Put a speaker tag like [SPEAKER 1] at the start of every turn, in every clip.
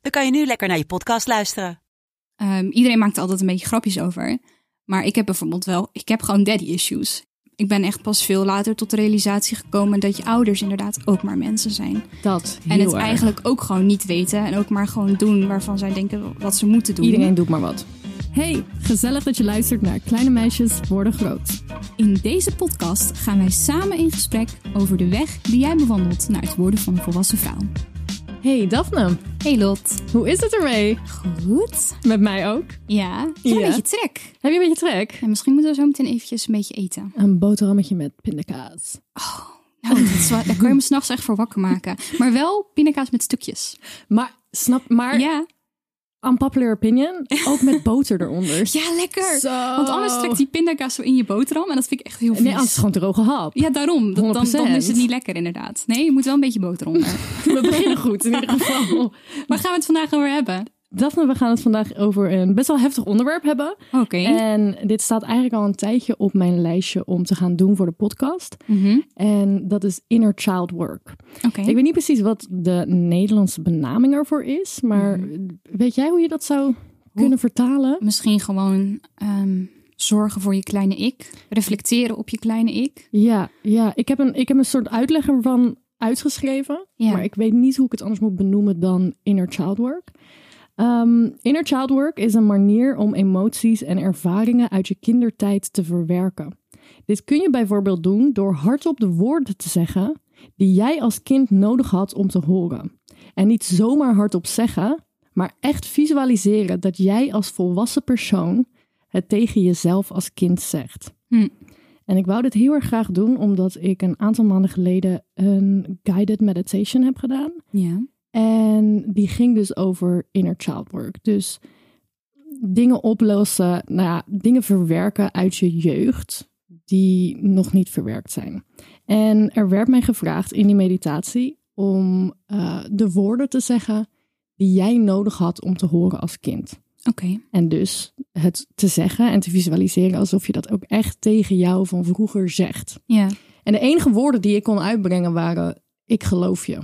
[SPEAKER 1] dan kan je nu lekker naar je podcast luisteren.
[SPEAKER 2] Ehm, iedereen maakt er altijd een beetje grapjes over. Maar ik heb bijvoorbeeld wel, ik heb gewoon daddy issues. Ik ben echt pas veel later tot de realisatie gekomen dat je ouders inderdaad ook maar mensen zijn.
[SPEAKER 3] Dat heel
[SPEAKER 2] En het
[SPEAKER 3] erg.
[SPEAKER 2] eigenlijk ook gewoon niet weten en ook maar gewoon doen waarvan zij denken wat ze moeten doen.
[SPEAKER 3] Iedereen doet maar wat. Hey, gezellig dat je luistert naar Kleine Meisjes Worden Groot.
[SPEAKER 2] In deze podcast gaan wij samen in gesprek over de weg die jij bewandelt naar het worden van een volwassen vrouw.
[SPEAKER 3] Hey Daphne,
[SPEAKER 2] Hey Lot,
[SPEAKER 3] hoe is het ermee?
[SPEAKER 2] goed?
[SPEAKER 3] Met mij ook.
[SPEAKER 2] Ja, ik heb
[SPEAKER 3] Ja.
[SPEAKER 2] een beetje trek.
[SPEAKER 3] Heb je een beetje trek?
[SPEAKER 2] En misschien moeten we zo meteen eventjes een beetje eten.
[SPEAKER 3] Een boterhammetje met pindakaas.
[SPEAKER 2] Nou, dat is wel- daar kun je me s'nachts echt voor wakker maken. Maar wel pindakaas met stukjes.
[SPEAKER 3] Maar, snap, maar
[SPEAKER 2] Ja,
[SPEAKER 3] unpopular opinion, ook met boter eronder.
[SPEAKER 2] ja lekker.
[SPEAKER 3] Zo.
[SPEAKER 2] Want anders trekt die pindakaas zo in je boterham. En dat vind ik echt heel vies.
[SPEAKER 3] Nee, anders is het gewoon droge hap.
[SPEAKER 2] ja, daarom. Dat- Dan, dan
[SPEAKER 3] 100%.
[SPEAKER 2] is het niet lekker inderdaad. Nee, je moet wel een beetje boter onder.
[SPEAKER 3] We beginnen goed in ieder geval.
[SPEAKER 2] Waar gaan we het vandaag over hebben?
[SPEAKER 3] Daphne, we gaan het vandaag over een best wel heftig onderwerp hebben.
[SPEAKER 2] Oké.
[SPEAKER 3] En dit staat eigenlijk al een tijdje op mijn lijstje om te gaan doen voor de podcast. En dat is inner child work.
[SPEAKER 2] Mhm. Oké.
[SPEAKER 3] Ik weet niet precies wat de Nederlandse benaming ervoor is, maar
[SPEAKER 2] Mhm.
[SPEAKER 3] weet jij hoe je dat zou kunnen vertalen?
[SPEAKER 2] Misschien gewoon ehm, zorgen voor je kleine ik. Reflecteren op je kleine ik.
[SPEAKER 3] Ja, ja. Ik, heb een, ik heb een soort uitleg ervan uitgeschreven,
[SPEAKER 2] Ja.
[SPEAKER 3] maar ik weet niet hoe ik het anders moet benoemen dan inner child work. Ehm, inner child work is een manier om emoties en ervaringen uit je kindertijd te verwerken. Dit kun je bijvoorbeeld doen door hardop de woorden te zeggen die jij als kind nodig had om te horen. En niet zomaar hardop zeggen, maar echt visualiseren dat jij als volwassen persoon het tegen jezelf als kind zegt.
[SPEAKER 2] Hm.
[SPEAKER 3] En ik wou dit heel erg graag doen omdat ik een aantal maanden geleden een guided meditation heb gedaan.
[SPEAKER 2] Ja.
[SPEAKER 3] En die ging dus over inner child work. Dus dingen oplossen, nou ja, dingen verwerken uit je jeugd die nog niet verwerkt zijn. En er werd mij gevraagd in die meditatie om eh, de woorden te zeggen die jij nodig had om te horen als kind.
[SPEAKER 2] Oké.
[SPEAKER 3] En dus het te zeggen en te visualiseren alsof je dat ook echt tegen jou van vroeger zegt.
[SPEAKER 2] Ja.
[SPEAKER 3] En de enige woorden die ik kon uitbrengen waren: Ik geloof je.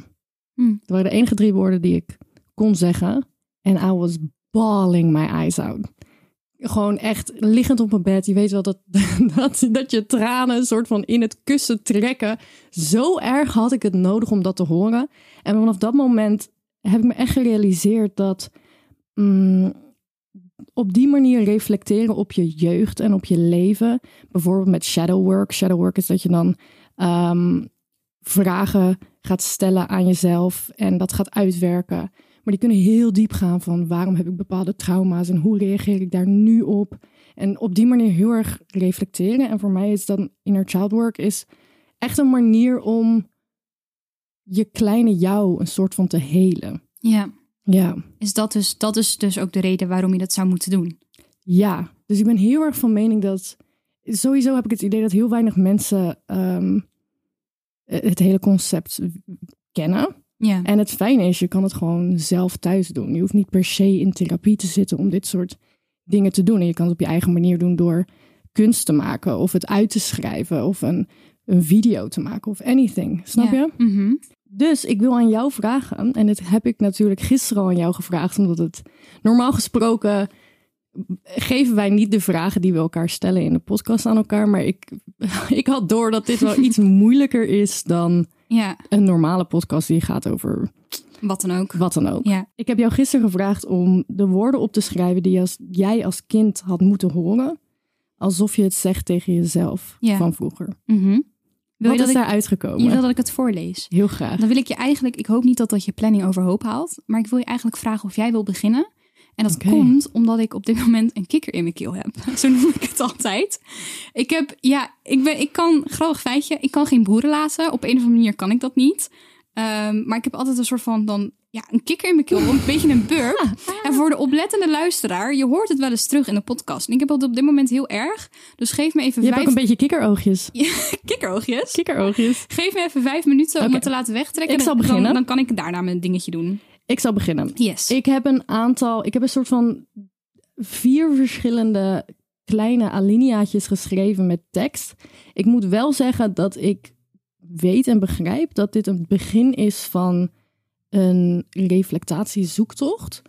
[SPEAKER 2] Hm.
[SPEAKER 3] Dat waren de enige drie woorden die ik kon zeggen. En I was bawling my eyes out. Gewoon echt liggend op mijn bed. Je weet wel dat, dat, dat je tranen een soort van in het kussen trekken. Zo erg had ik het nodig om dat te horen. En vanaf dat moment heb ik me echt gerealiseerd dat mm, op die manier reflecteren op je jeugd en op je leven. Bijvoorbeeld met shadow work. Shadow work is dat je dan ehm, vragen gaat stellen aan jezelf en dat gaat uitwerken. Maar die kunnen heel diep gaan van waarom heb ik bepaalde trauma's en hoe reageer ik daar nu op? En op die manier heel erg reflecteren. En voor mij is dan inner child work is echt een manier om je kleine jou een soort van te helen.
[SPEAKER 2] Ja.
[SPEAKER 3] Ja.
[SPEAKER 2] Is dat, dus, dat is dus ook de reden waarom je dat zou moeten doen?
[SPEAKER 3] Ja, dus ik ben heel erg van mening dat. Sowieso heb ik het idee dat heel weinig mensen ehm, het hele concept kennen.
[SPEAKER 2] Ja.
[SPEAKER 3] En het fijne is, je kan het gewoon zelf thuis doen. Je hoeft niet per se in therapie te zitten om dit soort dingen te doen. En je kan het op je eigen manier doen door kunst te maken of het uit te schrijven of een, een video te maken of anything.
[SPEAKER 2] Ja.
[SPEAKER 3] Snap je?
[SPEAKER 2] Mhm.
[SPEAKER 3] Dus ik wil aan jou vragen, en dit heb ik natuurlijk gisteren al aan jou gevraagd, omdat het normaal gesproken geven wij niet de vragen die we elkaar stellen in de podcast aan elkaar. Maar ik, ik had door dat dit wel iets moeilijker is dan
[SPEAKER 2] Ja,
[SPEAKER 3] een normale podcast die gaat over
[SPEAKER 2] wat dan ook.
[SPEAKER 3] wat dan ook.
[SPEAKER 2] Ja,
[SPEAKER 3] Ik heb jou gisteren gevraagd om de woorden op te schrijven die als, jij als kind had moeten horen. Alsof je het zegt tegen jezelf
[SPEAKER 2] Ja.
[SPEAKER 3] van vroeger.
[SPEAKER 2] Mhm. Wil
[SPEAKER 3] Wat
[SPEAKER 2] je dat,
[SPEAKER 3] is
[SPEAKER 2] ik,
[SPEAKER 3] daar
[SPEAKER 2] je
[SPEAKER 3] uitgekomen?
[SPEAKER 2] wil dat ik het voorlees?
[SPEAKER 3] Heel graag.
[SPEAKER 2] Dan wil ik je eigenlijk, ik hoop niet dat dat je planning overhoop haalt, maar ik wil je eigenlijk vragen of jij wil beginnen. En dat
[SPEAKER 3] Oké.
[SPEAKER 2] komt omdat ik op dit moment een kikker in mijn keel heb. Zo noem ik het altijd. Ik heb, ja, ik ben, ik kan, grappig feitje, ik kan geen boeren laten. Op een of andere manier kan ik dat niet. Ehm, maar ik heb altijd een soort van dan, ja, een kikker in mijn keel, een beetje een burp.
[SPEAKER 3] Ah.
[SPEAKER 2] En voor de oplettende luisteraar, je hoort het wel eens terug in de podcast. En ik heb dat op dit moment heel erg. Dus geef me even
[SPEAKER 3] Je hebt
[SPEAKER 2] vijf
[SPEAKER 3] ook een beetje kikkeroogjes.
[SPEAKER 2] kikkeroogjes.
[SPEAKER 3] Kikkeroogjes.
[SPEAKER 2] Geef me even vijf minuten om
[SPEAKER 3] Oké.
[SPEAKER 2] het te laten wegtrekken.
[SPEAKER 3] Ik zal
[SPEAKER 2] Dan- Dan,
[SPEAKER 3] beginnen.
[SPEAKER 2] dan kan ik daarna mijn dingetje doen.
[SPEAKER 3] Ik zal beginnen.
[SPEAKER 2] Yes.
[SPEAKER 3] Ik heb een aantal, ik heb een soort van vier verschillende kleine alineaatjes geschreven met tekst. Ik moet wel zeggen dat ik weet en begrijp dat dit een begin is van een reflectatiezoektocht.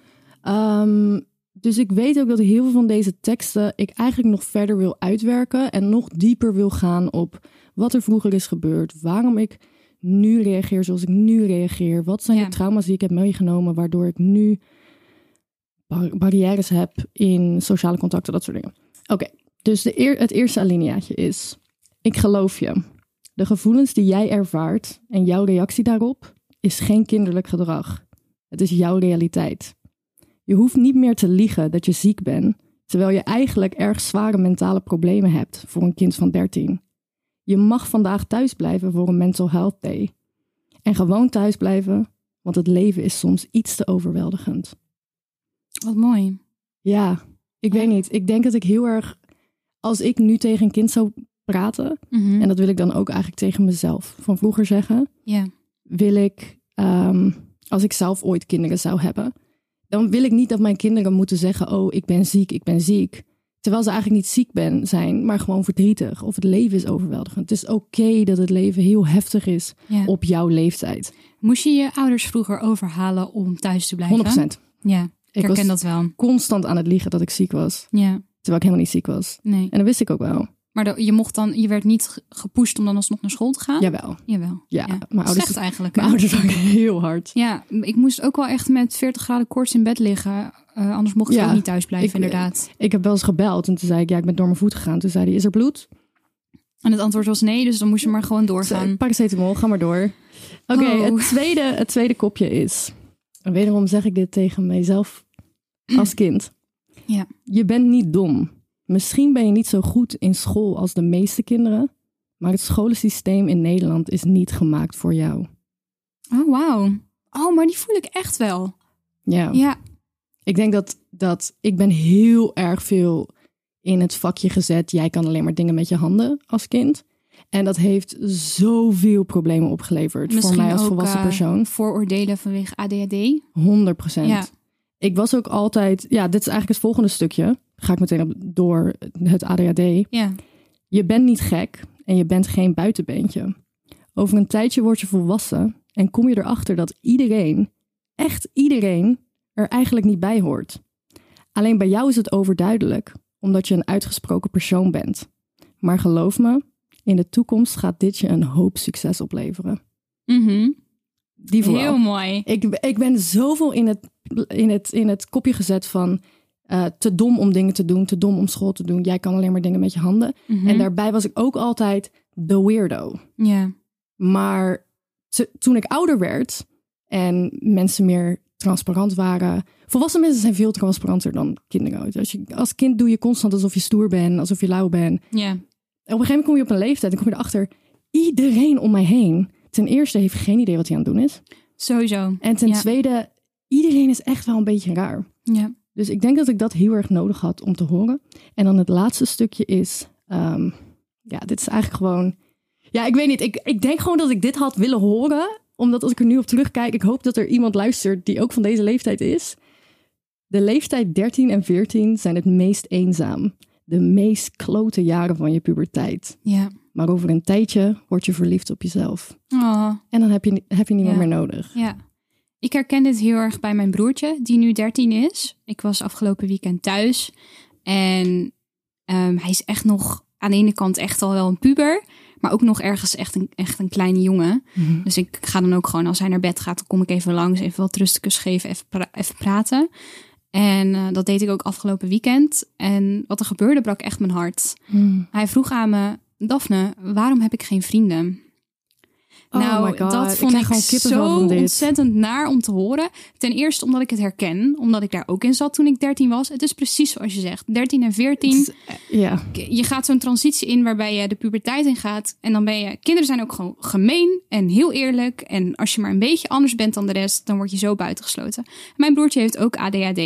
[SPEAKER 3] Ehm, dus ik weet ook dat heel veel van deze teksten ik eigenlijk nog verder wil uitwerken en nog dieper wil gaan op wat er vroeger is gebeurd, waarom ik nu reageer zoals ik nu reageer, wat zijn
[SPEAKER 2] Ja.
[SPEAKER 3] de trauma's die ik heb meegenomen waardoor ik nu bar- barrières heb in sociale contacten, dat soort dingen. Oké, dus de eer- het eerste alineaatje is: ik geloof je. De gevoelens die jij ervaart en jouw reactie daarop is geen kinderlijk gedrag. Het is jouw realiteit. Je hoeft niet meer te liegen dat je ziek bent, terwijl je eigenlijk erg zware mentale problemen hebt voor een kind van 13. Je mag vandaag thuis blijven voor een mental health day. En gewoon thuis blijven, want het leven is soms iets te overweldigend.
[SPEAKER 2] Wat mooi.
[SPEAKER 3] Ja, ik weet niet. Ik denk dat ik heel erg, als ik nu tegen een kind zou praten,
[SPEAKER 2] Mhm.
[SPEAKER 3] en dat wil ik dan ook eigenlijk tegen mezelf van vroeger zeggen,
[SPEAKER 2] Ja.
[SPEAKER 3] wil ik, ehm, als ik zelf ooit kinderen zou hebben, dan wil ik niet dat mijn kinderen moeten zeggen: Oh, ik ben ziek, ik ben ziek. Terwijl ze eigenlijk niet ziek ben, zijn, maar gewoon verdrietig of het leven is overweldigend. Het is oké dat het leven heel heftig is
[SPEAKER 2] ja.
[SPEAKER 3] op jouw leeftijd. 100%.
[SPEAKER 2] Moest je je ouders vroeger overhalen om thuis te blijven? Ja, ik
[SPEAKER 3] Ik
[SPEAKER 2] herken
[SPEAKER 3] was
[SPEAKER 2] dat wel.
[SPEAKER 3] constant aan het liegen dat ik ziek was,
[SPEAKER 2] Ja,
[SPEAKER 3] terwijl ik helemaal niet ziek was.
[SPEAKER 2] nee.
[SPEAKER 3] En dat wist ik ook wel.
[SPEAKER 2] Maar de- je, mocht dan, je werd niet ge- gepusht om dan alsnog naar school te gaan?
[SPEAKER 3] Jawel.
[SPEAKER 2] Jawel.
[SPEAKER 3] Ja, mijn ouders-
[SPEAKER 2] Slecht eigenlijk. hè?
[SPEAKER 3] Mijn ouders waren heel hard.
[SPEAKER 2] Ja, ik moest ook wel echt met 40 graden koorts in bed liggen. Eh, anders mocht ik
[SPEAKER 3] Ja,
[SPEAKER 2] ook niet thuis blijven,
[SPEAKER 3] ik-
[SPEAKER 2] inderdaad.
[SPEAKER 3] Ik heb wel eens gebeld en toen zei ik: Ja, ik ben door mijn voet gegaan. Toen zei hij: Is er bloed?
[SPEAKER 2] En het antwoord was nee, dus dan moest je maar gewoon doorgaan.
[SPEAKER 3] Zo, Paracetamol, ga maar door. Oké,
[SPEAKER 2] Oh.
[SPEAKER 3] het, tweede, het tweede kopje is... En wederom zeg ik dit tegen mijzelf als kind.
[SPEAKER 2] Ja.
[SPEAKER 3] Je bent niet dom. Misschien ben je niet zo goed in school als de meeste kinderen... maar het scholensysteem in Nederland is niet gemaakt voor jou.
[SPEAKER 2] Oh, wauw. Oh, maar die voel ik echt wel.
[SPEAKER 3] Ja,
[SPEAKER 2] Ja,
[SPEAKER 3] ik denk dat, dat... Ik ben heel erg veel in het vakje gezet... jij kan alleen maar dingen met je handen als kind... En dat heeft zoveel problemen opgeleverd voor mij als
[SPEAKER 2] ook,
[SPEAKER 3] volwassen
[SPEAKER 2] eh,
[SPEAKER 3] persoon.
[SPEAKER 2] vooroordelen vanwege ADHD.
[SPEAKER 3] 100 procent.
[SPEAKER 2] Ja.
[SPEAKER 3] Ik was ook altijd, ja, dit is eigenlijk het volgende stukje. Ga ik meteen op, door het ADHD.
[SPEAKER 2] Ja,
[SPEAKER 3] Je bent niet gek en je bent geen buitenbeentje. Over een tijdje word je volwassen en kom je erachter dat iedereen, echt iedereen, er eigenlijk niet bij hoort. Alleen bij jou is het overduidelijk, omdat je een uitgesproken persoon bent. Maar geloof me, in de toekomst gaat dit je een hoop succes opleveren.
[SPEAKER 2] Mhm.
[SPEAKER 3] Die vooral.
[SPEAKER 2] heel mooi.
[SPEAKER 3] Ik, ik ben zoveel in het, in het, in het kopje gezet van eh, te dom om dingen te doen, te dom om school te doen. Jij kan alleen maar dingen met je handen.
[SPEAKER 2] Mhm.
[SPEAKER 3] En daarbij was ik ook altijd de weirdo.
[SPEAKER 2] Ja,
[SPEAKER 3] Maar te- toen ik ouder werd en mensen meer transparant waren. Volwassen mensen zijn veel transparanter dan kinderen. Als, je, als kind doe je constant alsof je stoer bent, alsof je lauw bent.
[SPEAKER 2] ja.
[SPEAKER 3] En op een gegeven moment kom je op een leeftijd en kom je erachter. Iedereen om mij heen, ten eerste, heeft geen idee wat hij aan het doen is.
[SPEAKER 2] Sowieso.
[SPEAKER 3] En ten
[SPEAKER 2] Ja.
[SPEAKER 3] tweede, iedereen is echt wel een beetje raar.
[SPEAKER 2] Ja.
[SPEAKER 3] Dus ik denk dat ik dat heel erg nodig had om te horen. En dan het laatste stukje is, ehm, ja, dit is eigenlijk gewoon, ja, ik weet niet, ik, ik denk gewoon dat ik dit had willen horen, omdat als ik er nu op terugkijk, ik hoop dat er iemand luistert die ook van deze leeftijd is. De leeftijd 13 en 14 zijn het meest eenzaam, de meest klote jaren van je puberteit.
[SPEAKER 2] Ja.
[SPEAKER 3] Maar over een tijdje word je verliefd op jezelf.
[SPEAKER 2] Oh,
[SPEAKER 3] En dan heb je, heb je niemand
[SPEAKER 2] Ja.
[SPEAKER 3] meer nodig.
[SPEAKER 2] ja. Ik herken dit heel erg bij mijn broertje, die nu 13 is. Ik was afgelopen weekend thuis. En ehm, hij is echt nog aan de ene kant echt al wel een puber. Maar ook nog ergens echt een, echt een kleine jongen. Dus ik ga dan ook gewoon, als hij naar bed gaat, dan kom ik even langs. Even wat rustigers geven, even, pra- even praten. En eh, dat deed ik ook afgelopen weekend. En wat er gebeurde, brak echt mijn hart. Hij vroeg aan me, Daphne, waarom heb ik geen vrienden?
[SPEAKER 3] Oh
[SPEAKER 2] nou,
[SPEAKER 3] my God,
[SPEAKER 2] dat
[SPEAKER 3] ik
[SPEAKER 2] vond
[SPEAKER 3] krijg
[SPEAKER 2] ik,
[SPEAKER 3] gewoon kippenvel
[SPEAKER 2] zo
[SPEAKER 3] van dit.
[SPEAKER 2] ontzettend naar om te horen. Ten eerste omdat ik het herken, omdat ik daar ook in zat toen ik 13 was. Het is precies zoals je zegt. 13 en 14,
[SPEAKER 3] Het Ja,
[SPEAKER 2] je gaat zo'n transitie in waarbij je de puberteit in gaat. En dan ben je. Kinderen zijn ook gewoon gemeen en heel eerlijk. En als je maar een beetje anders bent dan de rest, dan word je zo buitengesloten. Mijn broertje heeft ook ADHD.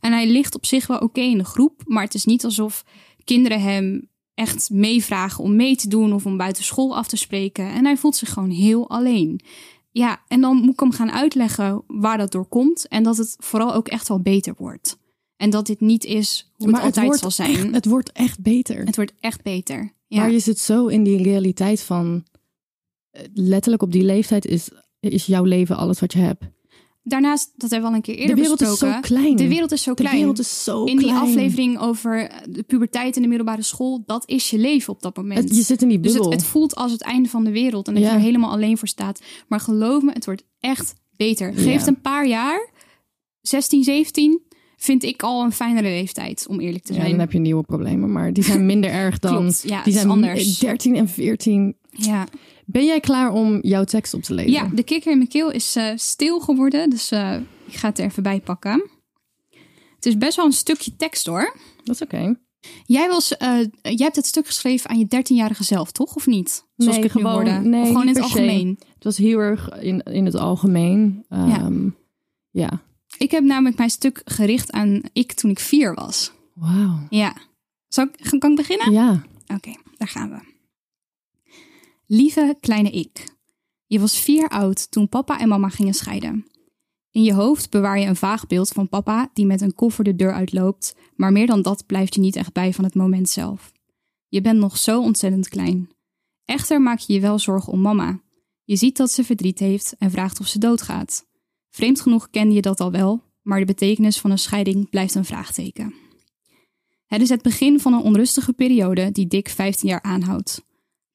[SPEAKER 2] En hij ligt op zich wel oké in de groep. Maar het is niet alsof kinderen hem echt meevragen om mee te doen of om buiten school af te spreken. En hij voelt zich gewoon heel alleen. Ja, en dan moet ik hem gaan uitleggen waar dat door komt. En dat het vooral ook echt wel beter wordt. En dat dit niet is hoe het altijd
[SPEAKER 3] wordt
[SPEAKER 2] zal zijn.
[SPEAKER 3] echt- het wordt echt beter.
[SPEAKER 2] Het wordt echt beter. Ja.
[SPEAKER 3] Maar je zit zo in die realiteit van... eh, Letterlijk op die leeftijd is, is jouw leven alles wat je hebt.
[SPEAKER 2] Daarnaast, dat hebben we al een keer
[SPEAKER 3] de
[SPEAKER 2] eerder
[SPEAKER 3] wereld is
[SPEAKER 2] besproken.
[SPEAKER 3] zo klein.
[SPEAKER 2] De wereld is zo
[SPEAKER 3] De
[SPEAKER 2] klein.
[SPEAKER 3] wereld is zo
[SPEAKER 2] in die
[SPEAKER 3] klein.
[SPEAKER 2] aflevering over eh, de puberteit en de middelbare school, dat is je leven op dat moment.
[SPEAKER 3] Het- je zit in die
[SPEAKER 2] dus
[SPEAKER 3] bubbel.
[SPEAKER 2] het, het voelt als het einde van de wereld en dat
[SPEAKER 3] Ja.
[SPEAKER 2] je er helemaal alleen voor staat. Maar geloof me, het wordt echt beter.
[SPEAKER 3] Ja.
[SPEAKER 2] Geef het een paar jaar, 16, 17, vind ik al een fijnere leeftijd, om eerlijk te
[SPEAKER 3] ja,
[SPEAKER 2] zijn.
[SPEAKER 3] dan heb je nieuwe problemen, maar die zijn minder erg dan...
[SPEAKER 2] Klopt, ja, het
[SPEAKER 3] die
[SPEAKER 2] is
[SPEAKER 3] zijn
[SPEAKER 2] anders.
[SPEAKER 3] 13 en 14.
[SPEAKER 2] ja.
[SPEAKER 3] Ben jij klaar om jouw tekst op te lezen?
[SPEAKER 2] Ja, de kikker in mijn keel is eh, stil geworden. Dus eh, ik ga het er even bij pakken. Het is best wel een stukje tekst hoor.
[SPEAKER 3] Dat is oké.
[SPEAKER 2] Jij, was, eh, jij hebt het stuk geschreven aan je 13-jarige zelf, toch? Of niet? Zoals
[SPEAKER 3] Nee,
[SPEAKER 2] ik het
[SPEAKER 3] gewoon-
[SPEAKER 2] nu hoorde.
[SPEAKER 3] nee,
[SPEAKER 2] of gewoon in
[SPEAKER 3] niet
[SPEAKER 2] het
[SPEAKER 3] per se.
[SPEAKER 2] algemeen.
[SPEAKER 3] Het was heel erg in, in het algemeen. Ehm, ja.
[SPEAKER 2] Ik heb namelijk mijn stuk gericht aan ik toen ik vier was.
[SPEAKER 3] Wauw.
[SPEAKER 2] Ja. Zal ik, kan ik beginnen?
[SPEAKER 3] Ja.
[SPEAKER 2] Oké, daar gaan we. Lieve kleine ik. Je was vier oud toen papa en mama gingen scheiden. In je hoofd bewaar je een vaag beeld van papa die met een koffer de deur uitloopt, maar meer dan dat blijft je niet echt bij van het moment zelf. Je bent nog zo ontzettend klein. Echter maak je je wel zorgen om mama. Je ziet dat ze verdriet heeft en vraagt of ze doodgaat. Vreemd genoeg kende je dat al wel, maar de betekenis van een scheiding blijft een vraagteken. Het is het begin van een onrustige periode die dik 15 jaar aanhoudt.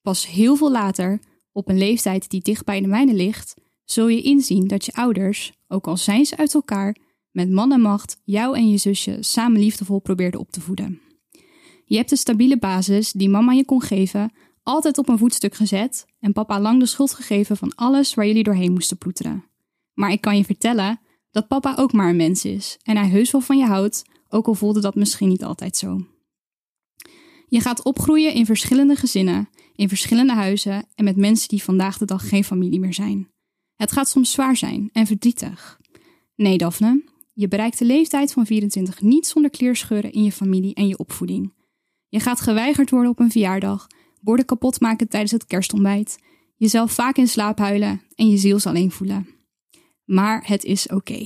[SPEAKER 2] Pas heel veel later, op een leeftijd die dicht bij de mijne ligt, zul je inzien dat je ouders, ook al zijn ze uit elkaar, met man en macht jou en je zusje samen liefdevol probeerden op te voeden. Je hebt de stabiele basis die mama je kon geven, altijd op een voetstuk gezet en papa lang de schuld gegeven van alles waar jullie doorheen moesten ploeteren. Maar ik kan je vertellen dat papa ook maar een mens is en hij heus wel van je houdt, ook al voelde dat misschien niet altijd zo. Je gaat opgroeien in verschillende gezinnen, in verschillende huizen en met mensen die vandaag de dag geen familie meer zijn. Het gaat soms zwaar zijn en verdrietig. Nee, Daphne, je bereikt de leeftijd van 24 niet zonder kleerscheuren in je familie en je opvoeding. Je gaat geweigerd worden op een verjaardag, borden kapot maken tijdens het kerstontbijt, jezelf vaak in slaap huilen en je ziels alleen voelen. Maar het is oké.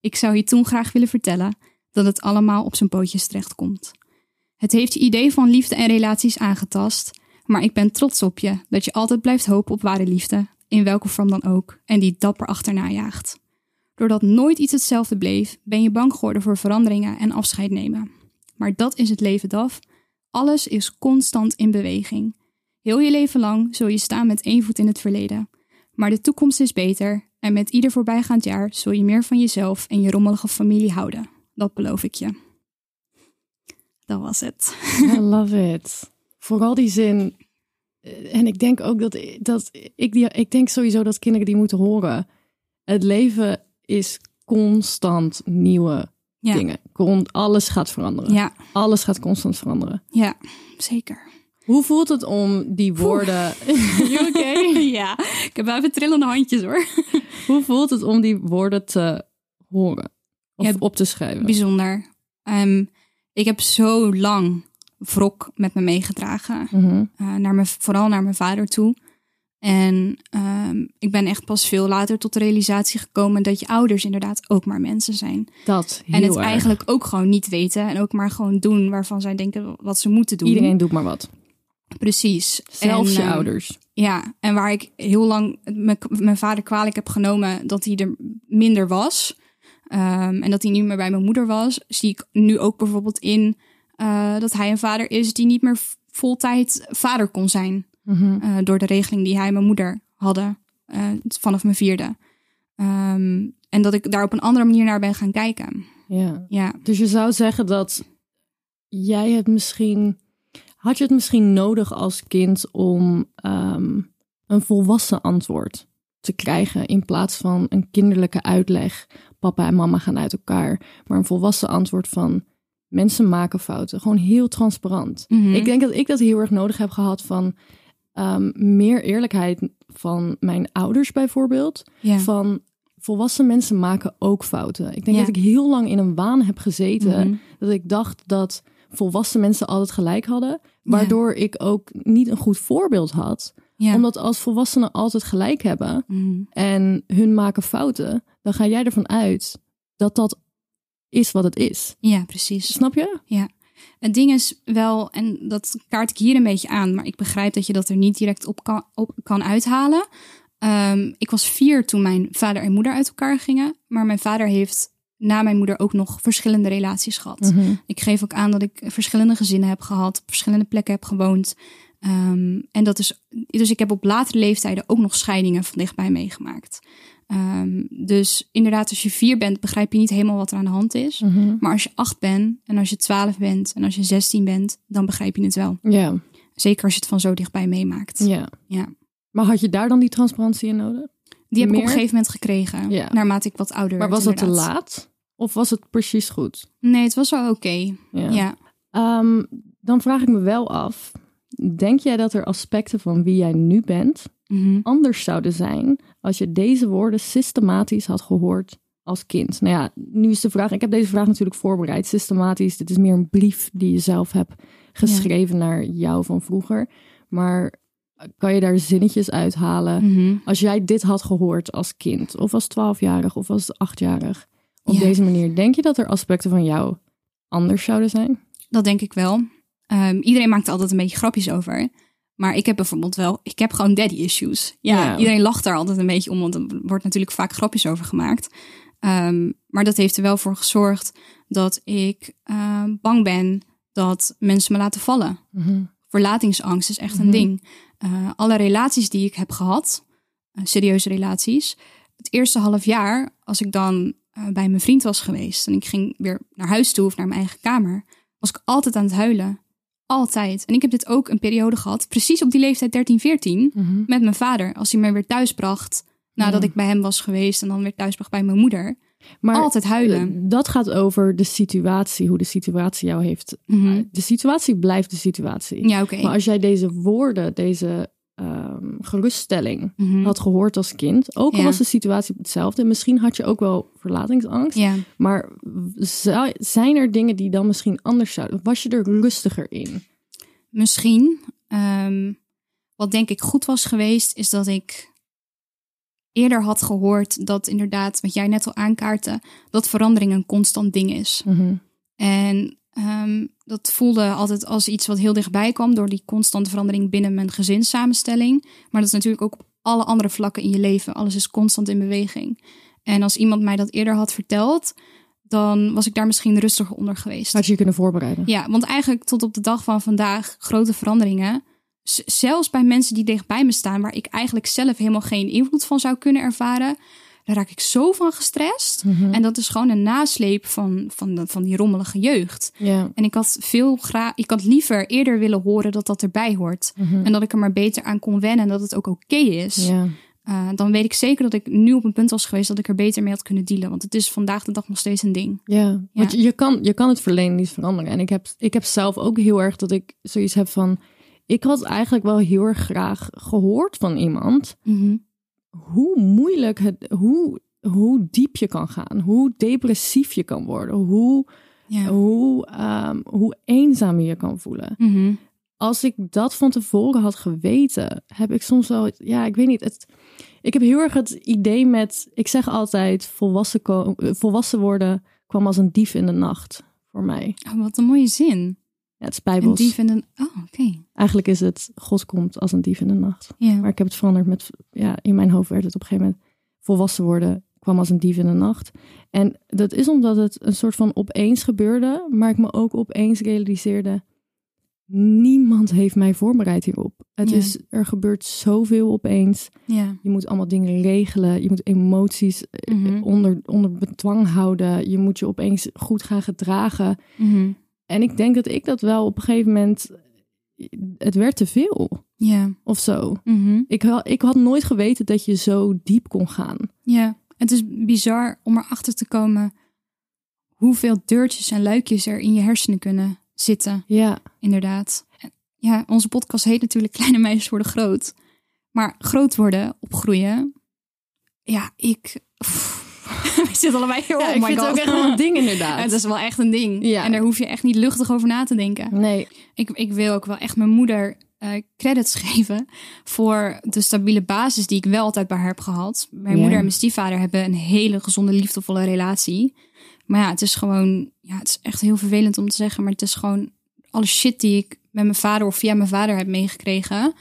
[SPEAKER 2] Ik zou je toen graag willen vertellen dat het allemaal op zijn pootjes terechtkomt. Het heeft je idee van liefde en relaties aangetast, maar ik ben trots op je dat je altijd blijft hopen op ware liefde, in welke vorm dan ook, en die dapper achterna jaagt. Doordat nooit iets hetzelfde bleef, ben je bang geworden voor veranderingen en afscheid nemen. Maar dat is het leven, Daf. Alles is constant in beweging. Heel je leven lang zul je staan met één voet in het verleden. Maar de toekomst is beter en met ieder voorbijgaand jaar zul je meer van jezelf en je rommelige familie houden. Dat beloof ik je. Dat was het.
[SPEAKER 3] I love it. Vooral die zin. eh, En ik denk ook dat, i- dat ik, die, ik denk sowieso dat kinderen die moeten horen. Het leven is constant nieuwe
[SPEAKER 2] Ja.
[SPEAKER 3] dingen. Con- alles gaat veranderen.
[SPEAKER 2] Ja,
[SPEAKER 3] Alles gaat constant veranderen.
[SPEAKER 2] ja, zeker.
[SPEAKER 3] Hoe voelt het om die woorden. You okay?
[SPEAKER 2] ja, ik heb wel even trillende handjes hoor.
[SPEAKER 3] Hoe voelt het om die woorden te horen? Of
[SPEAKER 2] Ja,
[SPEAKER 3] op te schrijven?
[SPEAKER 2] Bijzonder. Ehm, ik heb zo lang wrok met me meegedragen.
[SPEAKER 3] Mhm.
[SPEAKER 2] eh, naar mijn, vooral naar mijn vader toe. En ehm, ik ben echt pas veel later tot de realisatie gekomen dat je ouders inderdaad ook maar mensen zijn.
[SPEAKER 3] Dat heel
[SPEAKER 2] en het
[SPEAKER 3] erg.
[SPEAKER 2] eigenlijk ook gewoon niet weten en ook maar gewoon doen waarvan zij denken wat ze moeten doen.
[SPEAKER 3] Iedereen doet maar wat.
[SPEAKER 2] Precies.
[SPEAKER 3] Zelfs
[SPEAKER 2] En,
[SPEAKER 3] je
[SPEAKER 2] ehm,
[SPEAKER 3] ouders.
[SPEAKER 2] Ja, en waar ik heel lang mijn- mijn vader kwalijk heb genomen dat hij er minder was. ehm, en dat hij niet meer bij mijn moeder was. Zie ik nu ook bijvoorbeeld in eh, dat hij een vader is die niet meer v- voltijd vader kon zijn.
[SPEAKER 3] Mhm.
[SPEAKER 2] Eh, door de regeling die hij en mijn moeder hadden eh, vanaf mijn vierde. Ehm, en dat ik daar op een andere manier naar ben gaan kijken.
[SPEAKER 3] Ja.
[SPEAKER 2] Ja,
[SPEAKER 3] Dus je zou zeggen dat jij het misschien. Had je het misschien nodig als kind om ehm, een volwassen antwoord te krijgen in plaats van een kinderlijke uitleg. Papa en mama gaan uit elkaar. Maar een volwassen antwoord van mensen maken fouten. Gewoon heel transparant.
[SPEAKER 2] Mhm.
[SPEAKER 3] Ik denk dat ik dat heel erg nodig heb gehad van ehm, meer eerlijkheid van mijn ouders bijvoorbeeld.
[SPEAKER 2] Ja.
[SPEAKER 3] Van volwassen mensen maken ook fouten. Ik denk
[SPEAKER 2] Ja.
[SPEAKER 3] dat ik heel lang in een waan heb gezeten.
[SPEAKER 2] Mhm.
[SPEAKER 3] Dat ik dacht dat volwassen mensen altijd gelijk hadden. Waardoor ik ook niet een goed voorbeeld had.
[SPEAKER 2] Ja.
[SPEAKER 3] Omdat als volwassenen altijd gelijk hebben
[SPEAKER 2] Mhm.
[SPEAKER 3] en hun maken fouten, dan ga jij ervan uit dat dat is wat het is.
[SPEAKER 2] ja, precies.
[SPEAKER 3] Snap je?
[SPEAKER 2] Het ding is wel, en dat kaart ik hier een beetje aan, maar ik begrijp dat je dat er niet direct op kan, op kan uithalen. Ehm, ik was vier toen mijn vader en moeder uit elkaar gingen, maar mijn vader heeft na mijn moeder ook nog verschillende relaties gehad. Ik geef ook aan dat ik verschillende gezinnen heb gehad, op verschillende plekken heb gewoond. Ehm, en dat is, dus ik heb op latere leeftijden ook nog scheidingen van dichtbij meegemaakt. Ehm, dus inderdaad, als je vier bent, begrijp je niet helemaal wat er aan de hand is. Maar als je acht bent en als je twaalf bent en als je zestien bent, dan begrijp je het wel.
[SPEAKER 3] Ja,
[SPEAKER 2] Zeker als je het van zo dichtbij meemaakt.
[SPEAKER 3] ja.
[SPEAKER 2] Ja.
[SPEAKER 3] Maar had je daar dan die transparantie in nodig?
[SPEAKER 2] Die heb ik op
[SPEAKER 3] Meer?
[SPEAKER 2] een gegeven moment gekregen,
[SPEAKER 3] Ja.
[SPEAKER 2] naarmate ik wat ouder
[SPEAKER 3] Maar
[SPEAKER 2] werd.
[SPEAKER 3] was dat te
[SPEAKER 2] inderdaad.
[SPEAKER 3] laat? Of was het precies goed?
[SPEAKER 2] Nee, het was wel oké. Ja.
[SPEAKER 3] Ehm, dan vraag ik me wel af, denk jij dat er aspecten van wie jij nu bent
[SPEAKER 2] Mhm.
[SPEAKER 3] anders zouden zijn als je deze woorden systematisch had gehoord als kind? Nou ja, nu is de vraag, ik heb deze vraag natuurlijk voorbereid, systematisch. Dit is meer een brief die je zelf hebt geschreven naar jou van vroeger. Maar kan je daar zinnetjes uithalen?
[SPEAKER 2] Mhm.
[SPEAKER 3] Als jij dit had gehoord als kind, of als 12-jarig, of als 8-jarig, op
[SPEAKER 2] Ja.
[SPEAKER 3] deze manier, denk je dat er aspecten van jou anders zouden zijn?
[SPEAKER 2] Dat denk ik wel. Ehm, iedereen maakt er altijd een beetje grapjes over. Maar ik heb bijvoorbeeld wel, ik heb gewoon daddy issues. Ja,
[SPEAKER 3] Ja.
[SPEAKER 2] iedereen lacht daar altijd een beetje om, want er wordt natuurlijk vaak grapjes over gemaakt. Ehm, maar dat heeft er wel voor gezorgd dat ik ehm, bang ben dat mensen me laten vallen. Verlatingsangst is echt een
[SPEAKER 3] Mhm.
[SPEAKER 2] ding. Eh, alle relaties die ik heb gehad, eh, serieuze relaties, het eerste half jaar, als ik dan eh, bij mijn vriend was geweest en ik ging weer naar huis toe of naar mijn eigen kamer, was ik altijd aan het huilen. Altijd. En ik heb dit ook een periode gehad, precies op die leeftijd 13, 14, met mijn vader. Als hij me weer thuis bracht nadat
[SPEAKER 3] Mhm. Ja.
[SPEAKER 2] ik bij hem was geweest en dan weer thuis bracht bij mijn moeder.
[SPEAKER 3] Maar
[SPEAKER 2] altijd huilen.
[SPEAKER 3] eh, dat gaat over de situatie, hoe de situatie jou heeft. eh,
[SPEAKER 2] Mhm.
[SPEAKER 3] De situatie blijft de situatie.
[SPEAKER 2] Ja, oké.
[SPEAKER 3] Maar als jij deze woorden, deze ehm, geruststelling
[SPEAKER 2] Mhm.
[SPEAKER 3] had gehoord als kind, ook
[SPEAKER 2] Ja.
[SPEAKER 3] al was de situatie hetzelfde, misschien had je ook wel verlatingsangst.
[SPEAKER 2] Ja.
[SPEAKER 3] Maar zou- zijn er dingen die dan misschien anders zouden? Was je er rustiger in?
[SPEAKER 2] Misschien. Ehm, wat denk ik goed was geweest, is dat ik eerder had gehoord dat inderdaad, wat jij net al aankaartte, dat verandering een constant ding is. En ehm, dat voelde altijd als iets wat heel dichtbij kwam door die constante verandering binnen mijn gezinssamenstelling. Maar dat is natuurlijk ook op alle andere vlakken in je leven. Alles is constant in beweging. En als iemand mij dat eerder had verteld, dan was ik daar misschien rustiger onder geweest.
[SPEAKER 3] Had je je kunnen voorbereiden?
[SPEAKER 2] Ja, want eigenlijk tot op de dag van vandaag grote veranderingen. Z- zelfs bij mensen die dichtbij me staan, waar ik eigenlijk zelf helemaal geen invloed van zou kunnen ervaren, daar raak ik zo van gestrest. En dat is gewoon een nasleep van, van, de- van die rommelige jeugd.
[SPEAKER 3] Ja.
[SPEAKER 2] En ik had veel graag, ik had liever eerder willen horen dat dat erbij hoort. En dat ik er maar beter aan kon wennen en dat het ook oké is.
[SPEAKER 3] Ja.
[SPEAKER 2] Eh, dan weet ik zeker dat ik nu op een punt was geweest dat ik er beter mee had kunnen dealen. Want het is vandaag de dag nog steeds een ding.
[SPEAKER 3] Ja, want
[SPEAKER 2] Ja.
[SPEAKER 3] je, je kan, je kan het verleden niet veranderen. En ik heb, ik heb zelf ook heel erg dat ik zoiets heb van... Ik had eigenlijk wel heel erg graag gehoord van iemand...
[SPEAKER 2] Mhm.
[SPEAKER 3] hoe moeilijk het... Hoe, hoe diep je kan gaan. Hoe depressief je kan worden. Hoe,
[SPEAKER 2] Ja.
[SPEAKER 3] Oh. hoe, ehm, hoe eenzaam je je kan voelen.
[SPEAKER 2] Mhm.
[SPEAKER 3] Als ik dat van tevoren had geweten... heb ik soms wel... Ja, ik weet niet... Het, ik heb heel erg het idee met... Ik zeg altijd... volwassen, ko- eh, volwassen worden kwam als een dief in de nacht voor mij.
[SPEAKER 2] Oh, wat een mooie zin.
[SPEAKER 3] Ja, het is
[SPEAKER 2] Een
[SPEAKER 3] bijbels.
[SPEAKER 2] dief in een... Oh, oké.
[SPEAKER 3] Eigenlijk is het God komt als een dief in de nacht.
[SPEAKER 2] Ja.
[SPEAKER 3] Maar ik heb het veranderd met, ja, in mijn hoofd werd het op een gegeven moment volwassen worden kwam als een dief in de nacht. En dat is omdat het een soort van opeens gebeurde, maar ik me ook opeens realiseerde, niemand heeft mij voorbereid hierop. Het
[SPEAKER 2] Ja.
[SPEAKER 3] is, er gebeurt zoveel opeens.
[SPEAKER 2] ja.
[SPEAKER 3] Je moet allemaal dingen regelen, je moet emoties eh,
[SPEAKER 2] Mhm.
[SPEAKER 3] onder, onder bedwang houden, je moet je opeens goed gaan gedragen.
[SPEAKER 2] Mhm.
[SPEAKER 3] En ik denk dat ik dat wel op een gegeven moment. Het werd te veel.
[SPEAKER 2] Ja.
[SPEAKER 3] of zo.
[SPEAKER 2] Mhm.
[SPEAKER 3] Ik, ha- ik had nooit geweten dat je zo diep kon gaan.
[SPEAKER 2] Ja, het is bizar om erachter te komen hoeveel deurtjes en luikjes er in je hersenen kunnen zitten,
[SPEAKER 3] Ja,
[SPEAKER 2] inderdaad. En Ja, onze podcast heet natuurlijk Kleine Meisjes Worden Groot. Maar groot worden, opgroeien, ja, ik... We zitten allebei heel, oh
[SPEAKER 3] ik
[SPEAKER 2] my
[SPEAKER 3] vind
[SPEAKER 2] god.
[SPEAKER 3] het ook echt wel een ding
[SPEAKER 2] Ja,
[SPEAKER 3] inderdaad.
[SPEAKER 2] het is wel echt een ding.
[SPEAKER 3] Ja.
[SPEAKER 2] En daar hoef je echt niet luchtig over na te denken.
[SPEAKER 3] Nee,
[SPEAKER 2] Ik, ik wil ook wel echt mijn moeder eh, credits geven voor de stabiele basis die ik wel altijd bij haar heb gehad. Mijn
[SPEAKER 3] Ja.
[SPEAKER 2] moeder en mijn stiefvader hebben een hele gezonde, liefdevolle relatie. Maar ja, het is gewoon, ja, het is echt heel vervelend om te zeggen, maar het is gewoon alle shit die ik met mijn vader of via mijn vader heb meegekregen,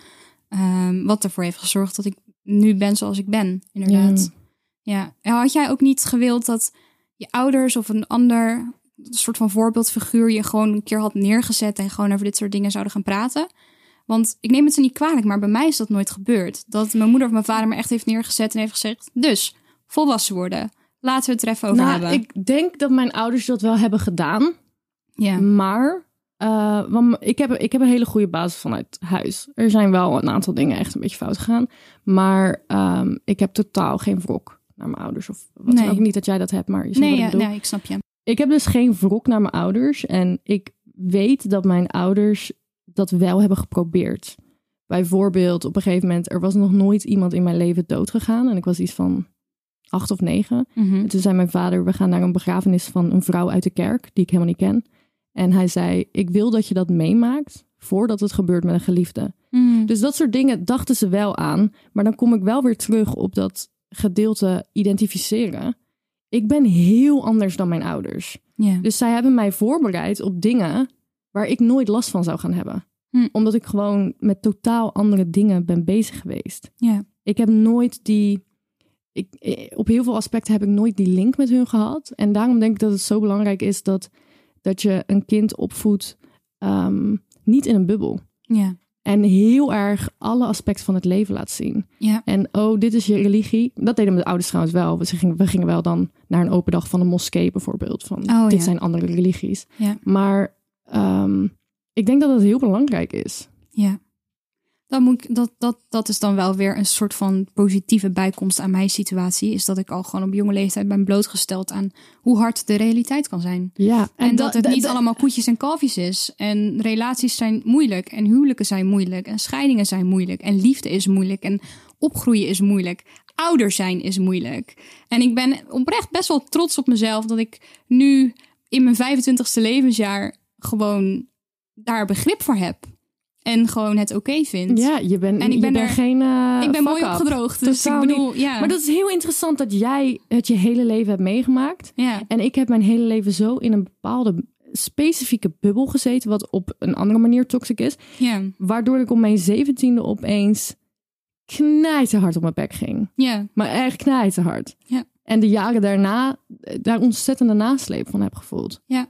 [SPEAKER 2] ehm, wat ervoor heeft gezorgd dat ik nu ben zoals ik ben, inderdaad. Ja. En had jij ook niet gewild dat je ouders of een ander een soort van voorbeeldfiguur je gewoon een keer had neergezet en gewoon over dit soort dingen zouden gaan praten? Want ik neem het ze niet kwalijk, maar bij mij is dat nooit gebeurd. Dat mijn moeder of mijn vader me echt heeft neergezet en heeft gezegd: Dus, volwassen worden. Laten we het er even over
[SPEAKER 3] nou,
[SPEAKER 2] hebben.
[SPEAKER 3] ik denk dat mijn ouders dat wel hebben gedaan. Mm-hmm.
[SPEAKER 2] Ja.
[SPEAKER 3] Maar eh, want ik, heb, ik heb een hele goede basis vanuit huis. Er zijn wel een aantal dingen echt een beetje fout gegaan. Maar ehm, ik heb totaal geen wrok naar mijn ouders. Of wat
[SPEAKER 2] Nee.
[SPEAKER 3] dan ook niet dat jij dat hebt, maar je snapt
[SPEAKER 2] Nee,
[SPEAKER 3] wat
[SPEAKER 2] ja,
[SPEAKER 3] ik bedoel.
[SPEAKER 2] nee, ik snap je.
[SPEAKER 3] Ik heb dus geen wrok naar mijn ouders. En ik weet dat mijn ouders dat wel hebben geprobeerd. Bijvoorbeeld op een gegeven moment, er was nog nooit iemand in mijn leven doodgegaan. En ik was iets van acht of negen. En toen zei mijn vader, we gaan naar een begrafenis van een vrouw uit de kerk, die ik helemaal niet ken. En hij zei, ik wil dat je dat meemaakt voordat het gebeurt met een geliefde.
[SPEAKER 2] Mm.
[SPEAKER 3] Dus dat soort dingen dachten ze wel aan. Maar dan kom ik wel weer terug op dat gedeelte identificeren. Ik ben heel anders dan mijn ouders.
[SPEAKER 2] Ja.
[SPEAKER 3] Dus zij hebben mij voorbereid op dingen waar ik nooit last van zou gaan hebben.
[SPEAKER 2] Hm.
[SPEAKER 3] Omdat ik gewoon met totaal andere dingen ben bezig geweest.
[SPEAKER 2] Ja.
[SPEAKER 3] Ik heb nooit die. Ik, eh, op heel veel aspecten heb ik nooit die link met hun gehad. En daarom denk ik dat het zo belangrijk is dat, dat je een kind opvoedt ehm, niet in een bubbel.
[SPEAKER 2] Ja.
[SPEAKER 3] En heel erg alle aspecten van het leven laat zien.
[SPEAKER 2] Ja.
[SPEAKER 3] En oh, dit is je religie. Dat deden mijn ouders trouwens wel. We gingen, we gingen wel dan naar een open dag van een moskee bijvoorbeeld. Van,
[SPEAKER 2] Oh,
[SPEAKER 3] dit
[SPEAKER 2] ja.
[SPEAKER 3] zijn andere religies.
[SPEAKER 2] Ja.
[SPEAKER 3] Maar ehm, ik denk dat dat heel belangrijk is.
[SPEAKER 2] Ja. Dan moet ik, dat, dat, dat is dan wel weer een soort van positieve bijkomst aan mijn situatie. Is dat ik al gewoon op jonge leeftijd ben blootgesteld aan hoe hard de realiteit kan zijn.
[SPEAKER 3] Ja.
[SPEAKER 2] En, dat, het niet allemaal koetjes en kalfjes is. En relaties zijn moeilijk. En huwelijken zijn moeilijk. En scheidingen zijn moeilijk. En liefde is moeilijk. En opgroeien is moeilijk. Ouder zijn is moeilijk. En ik ben oprecht best wel trots op mezelf dat ik nu in mijn 25ste levensjaar gewoon daar begrip voor heb. En gewoon het oké vind.
[SPEAKER 3] Ja, je bent
[SPEAKER 2] En ik
[SPEAKER 3] je
[SPEAKER 2] ben
[SPEAKER 3] bent
[SPEAKER 2] er-
[SPEAKER 3] geen. eh,
[SPEAKER 2] ik ben mooi
[SPEAKER 3] fuck-up.
[SPEAKER 2] opgedroogd. Dus ik
[SPEAKER 3] Totaal
[SPEAKER 2] bedoel, ja.
[SPEAKER 3] Maar dat is heel interessant dat jij het je hele leven hebt meegemaakt.
[SPEAKER 2] ja.
[SPEAKER 3] En ik heb mijn hele leven zo in een bepaalde specifieke bubbel gezeten, wat op een andere manier toxic is.
[SPEAKER 2] Ja.
[SPEAKER 3] Waardoor ik om mijn zeventiende opeens knijterhard op mijn bek ging.
[SPEAKER 2] Ja.
[SPEAKER 3] Maar echt knijterhard.
[SPEAKER 2] Ja.
[SPEAKER 3] En de jaren daarna eh, daar ontzettende nasleep van heb gevoeld.
[SPEAKER 2] Ja.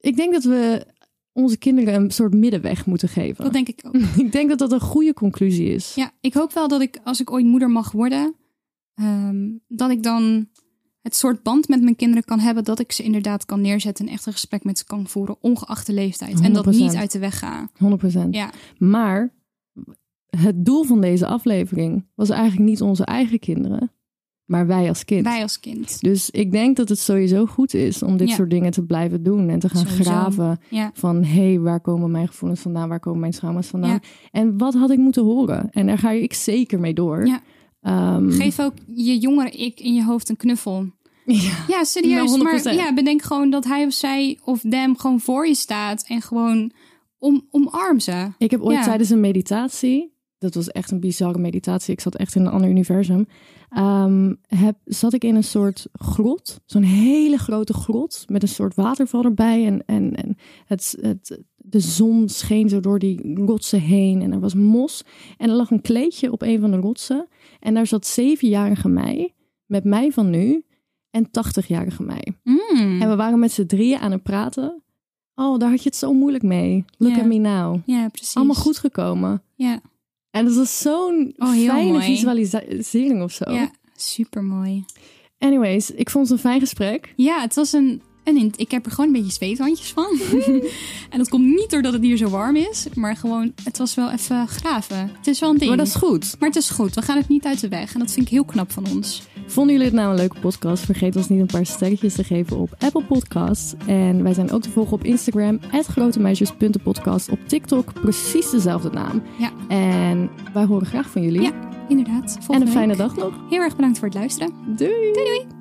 [SPEAKER 3] Ik denk dat we onze kinderen een soort middenweg moeten geven.
[SPEAKER 2] Dat denk ik ook.
[SPEAKER 3] ik denk dat dat een goede conclusie is.
[SPEAKER 2] Ja, ik hoop wel dat ik, als ik ooit moeder mag worden, ehm, dat ik dan het soort band met mijn kinderen kan hebben dat ik ze inderdaad kan neerzetten en echt een gesprek met ze kan voeren, ongeacht de leeftijd. En dat
[SPEAKER 3] 100%.
[SPEAKER 2] niet uit de weg ga.
[SPEAKER 3] 100%.
[SPEAKER 2] Ja,
[SPEAKER 3] Maar het doel van deze aflevering was eigenlijk niet onze eigen kinderen, maar wij als kind.
[SPEAKER 2] wij als kind.
[SPEAKER 3] Dus ik denk dat het sowieso goed is om dit
[SPEAKER 2] Ja.
[SPEAKER 3] soort dingen te blijven doen en te gaan
[SPEAKER 2] Sowieso.
[SPEAKER 3] graven.
[SPEAKER 2] Ja.
[SPEAKER 3] Van hé, hey, waar komen mijn gevoelens vandaan? Waar komen mijn trauma's vandaan?
[SPEAKER 2] Ja.
[SPEAKER 3] En wat had ik moeten horen? En daar ga ik zeker mee door.
[SPEAKER 2] Ja.
[SPEAKER 3] Ehm,
[SPEAKER 2] Geef ook je jongere ik in je hoofd een knuffel.
[SPEAKER 3] ja.
[SPEAKER 2] Ja, serieus.
[SPEAKER 3] Nou,
[SPEAKER 2] maar
[SPEAKER 3] 100%.
[SPEAKER 2] ja, bedenk gewoon dat hij of zij of them gewoon voor je staat en gewoon om, omarm ze.
[SPEAKER 3] Ik heb ooit
[SPEAKER 2] Ja.
[SPEAKER 3] tijdens een meditatie, dat was echt een bizarre meditatie, ik zat echt in een ander universum, ehm, heb, zat ik in een soort grot, zo'n hele grote grot met een soort waterval erbij en, en, en het, het, de zon scheen zo door die rotsen heen en er was mos en er lag een kleedje op een van de rotsen en daar zat zevenjarige mij, met mij van nu en tachtigjarige mij.
[SPEAKER 2] Mm.
[SPEAKER 3] En we waren met z'n drieën aan het praten. Oh, daar had je het zo moeilijk mee. Look
[SPEAKER 2] Ja.
[SPEAKER 3] at me now.
[SPEAKER 2] Ja, precies.
[SPEAKER 3] Allemaal goed gekomen.
[SPEAKER 2] Ja,
[SPEAKER 3] En dat was zo'n
[SPEAKER 2] Oh, heel
[SPEAKER 3] fijne
[SPEAKER 2] mooi.
[SPEAKER 3] visualisering of zo.
[SPEAKER 2] ja supermooi.
[SPEAKER 3] Anyways, ik vond het een fijn gesprek.
[SPEAKER 2] Ja, het was een En in- ik heb er gewoon een beetje zweethandjes van. en dat komt niet doordat het hier zo warm is. Maar gewoon, het was wel even graven. Het is wel een ding.
[SPEAKER 3] Maar dat is goed.
[SPEAKER 2] Maar het is goed, we gaan het niet uit de weg. En dat vind ik heel knap van ons.
[SPEAKER 3] Vonden jullie het nou een leuke podcast? Vergeet ons niet een paar sterretjes te geven op Apple Podcasts. En wij zijn ook te volgen op Instagram, grotemeisjes.podcast. Op TikTok, precies dezelfde naam.
[SPEAKER 2] Ja.
[SPEAKER 3] En wij horen graag van jullie.
[SPEAKER 2] Ja, inderdaad.
[SPEAKER 3] en een
[SPEAKER 2] Volgende
[SPEAKER 3] fijne
[SPEAKER 2] week.
[SPEAKER 3] dag nog.
[SPEAKER 2] Heel erg bedankt voor het luisteren.
[SPEAKER 3] Doei!
[SPEAKER 2] Doei doei!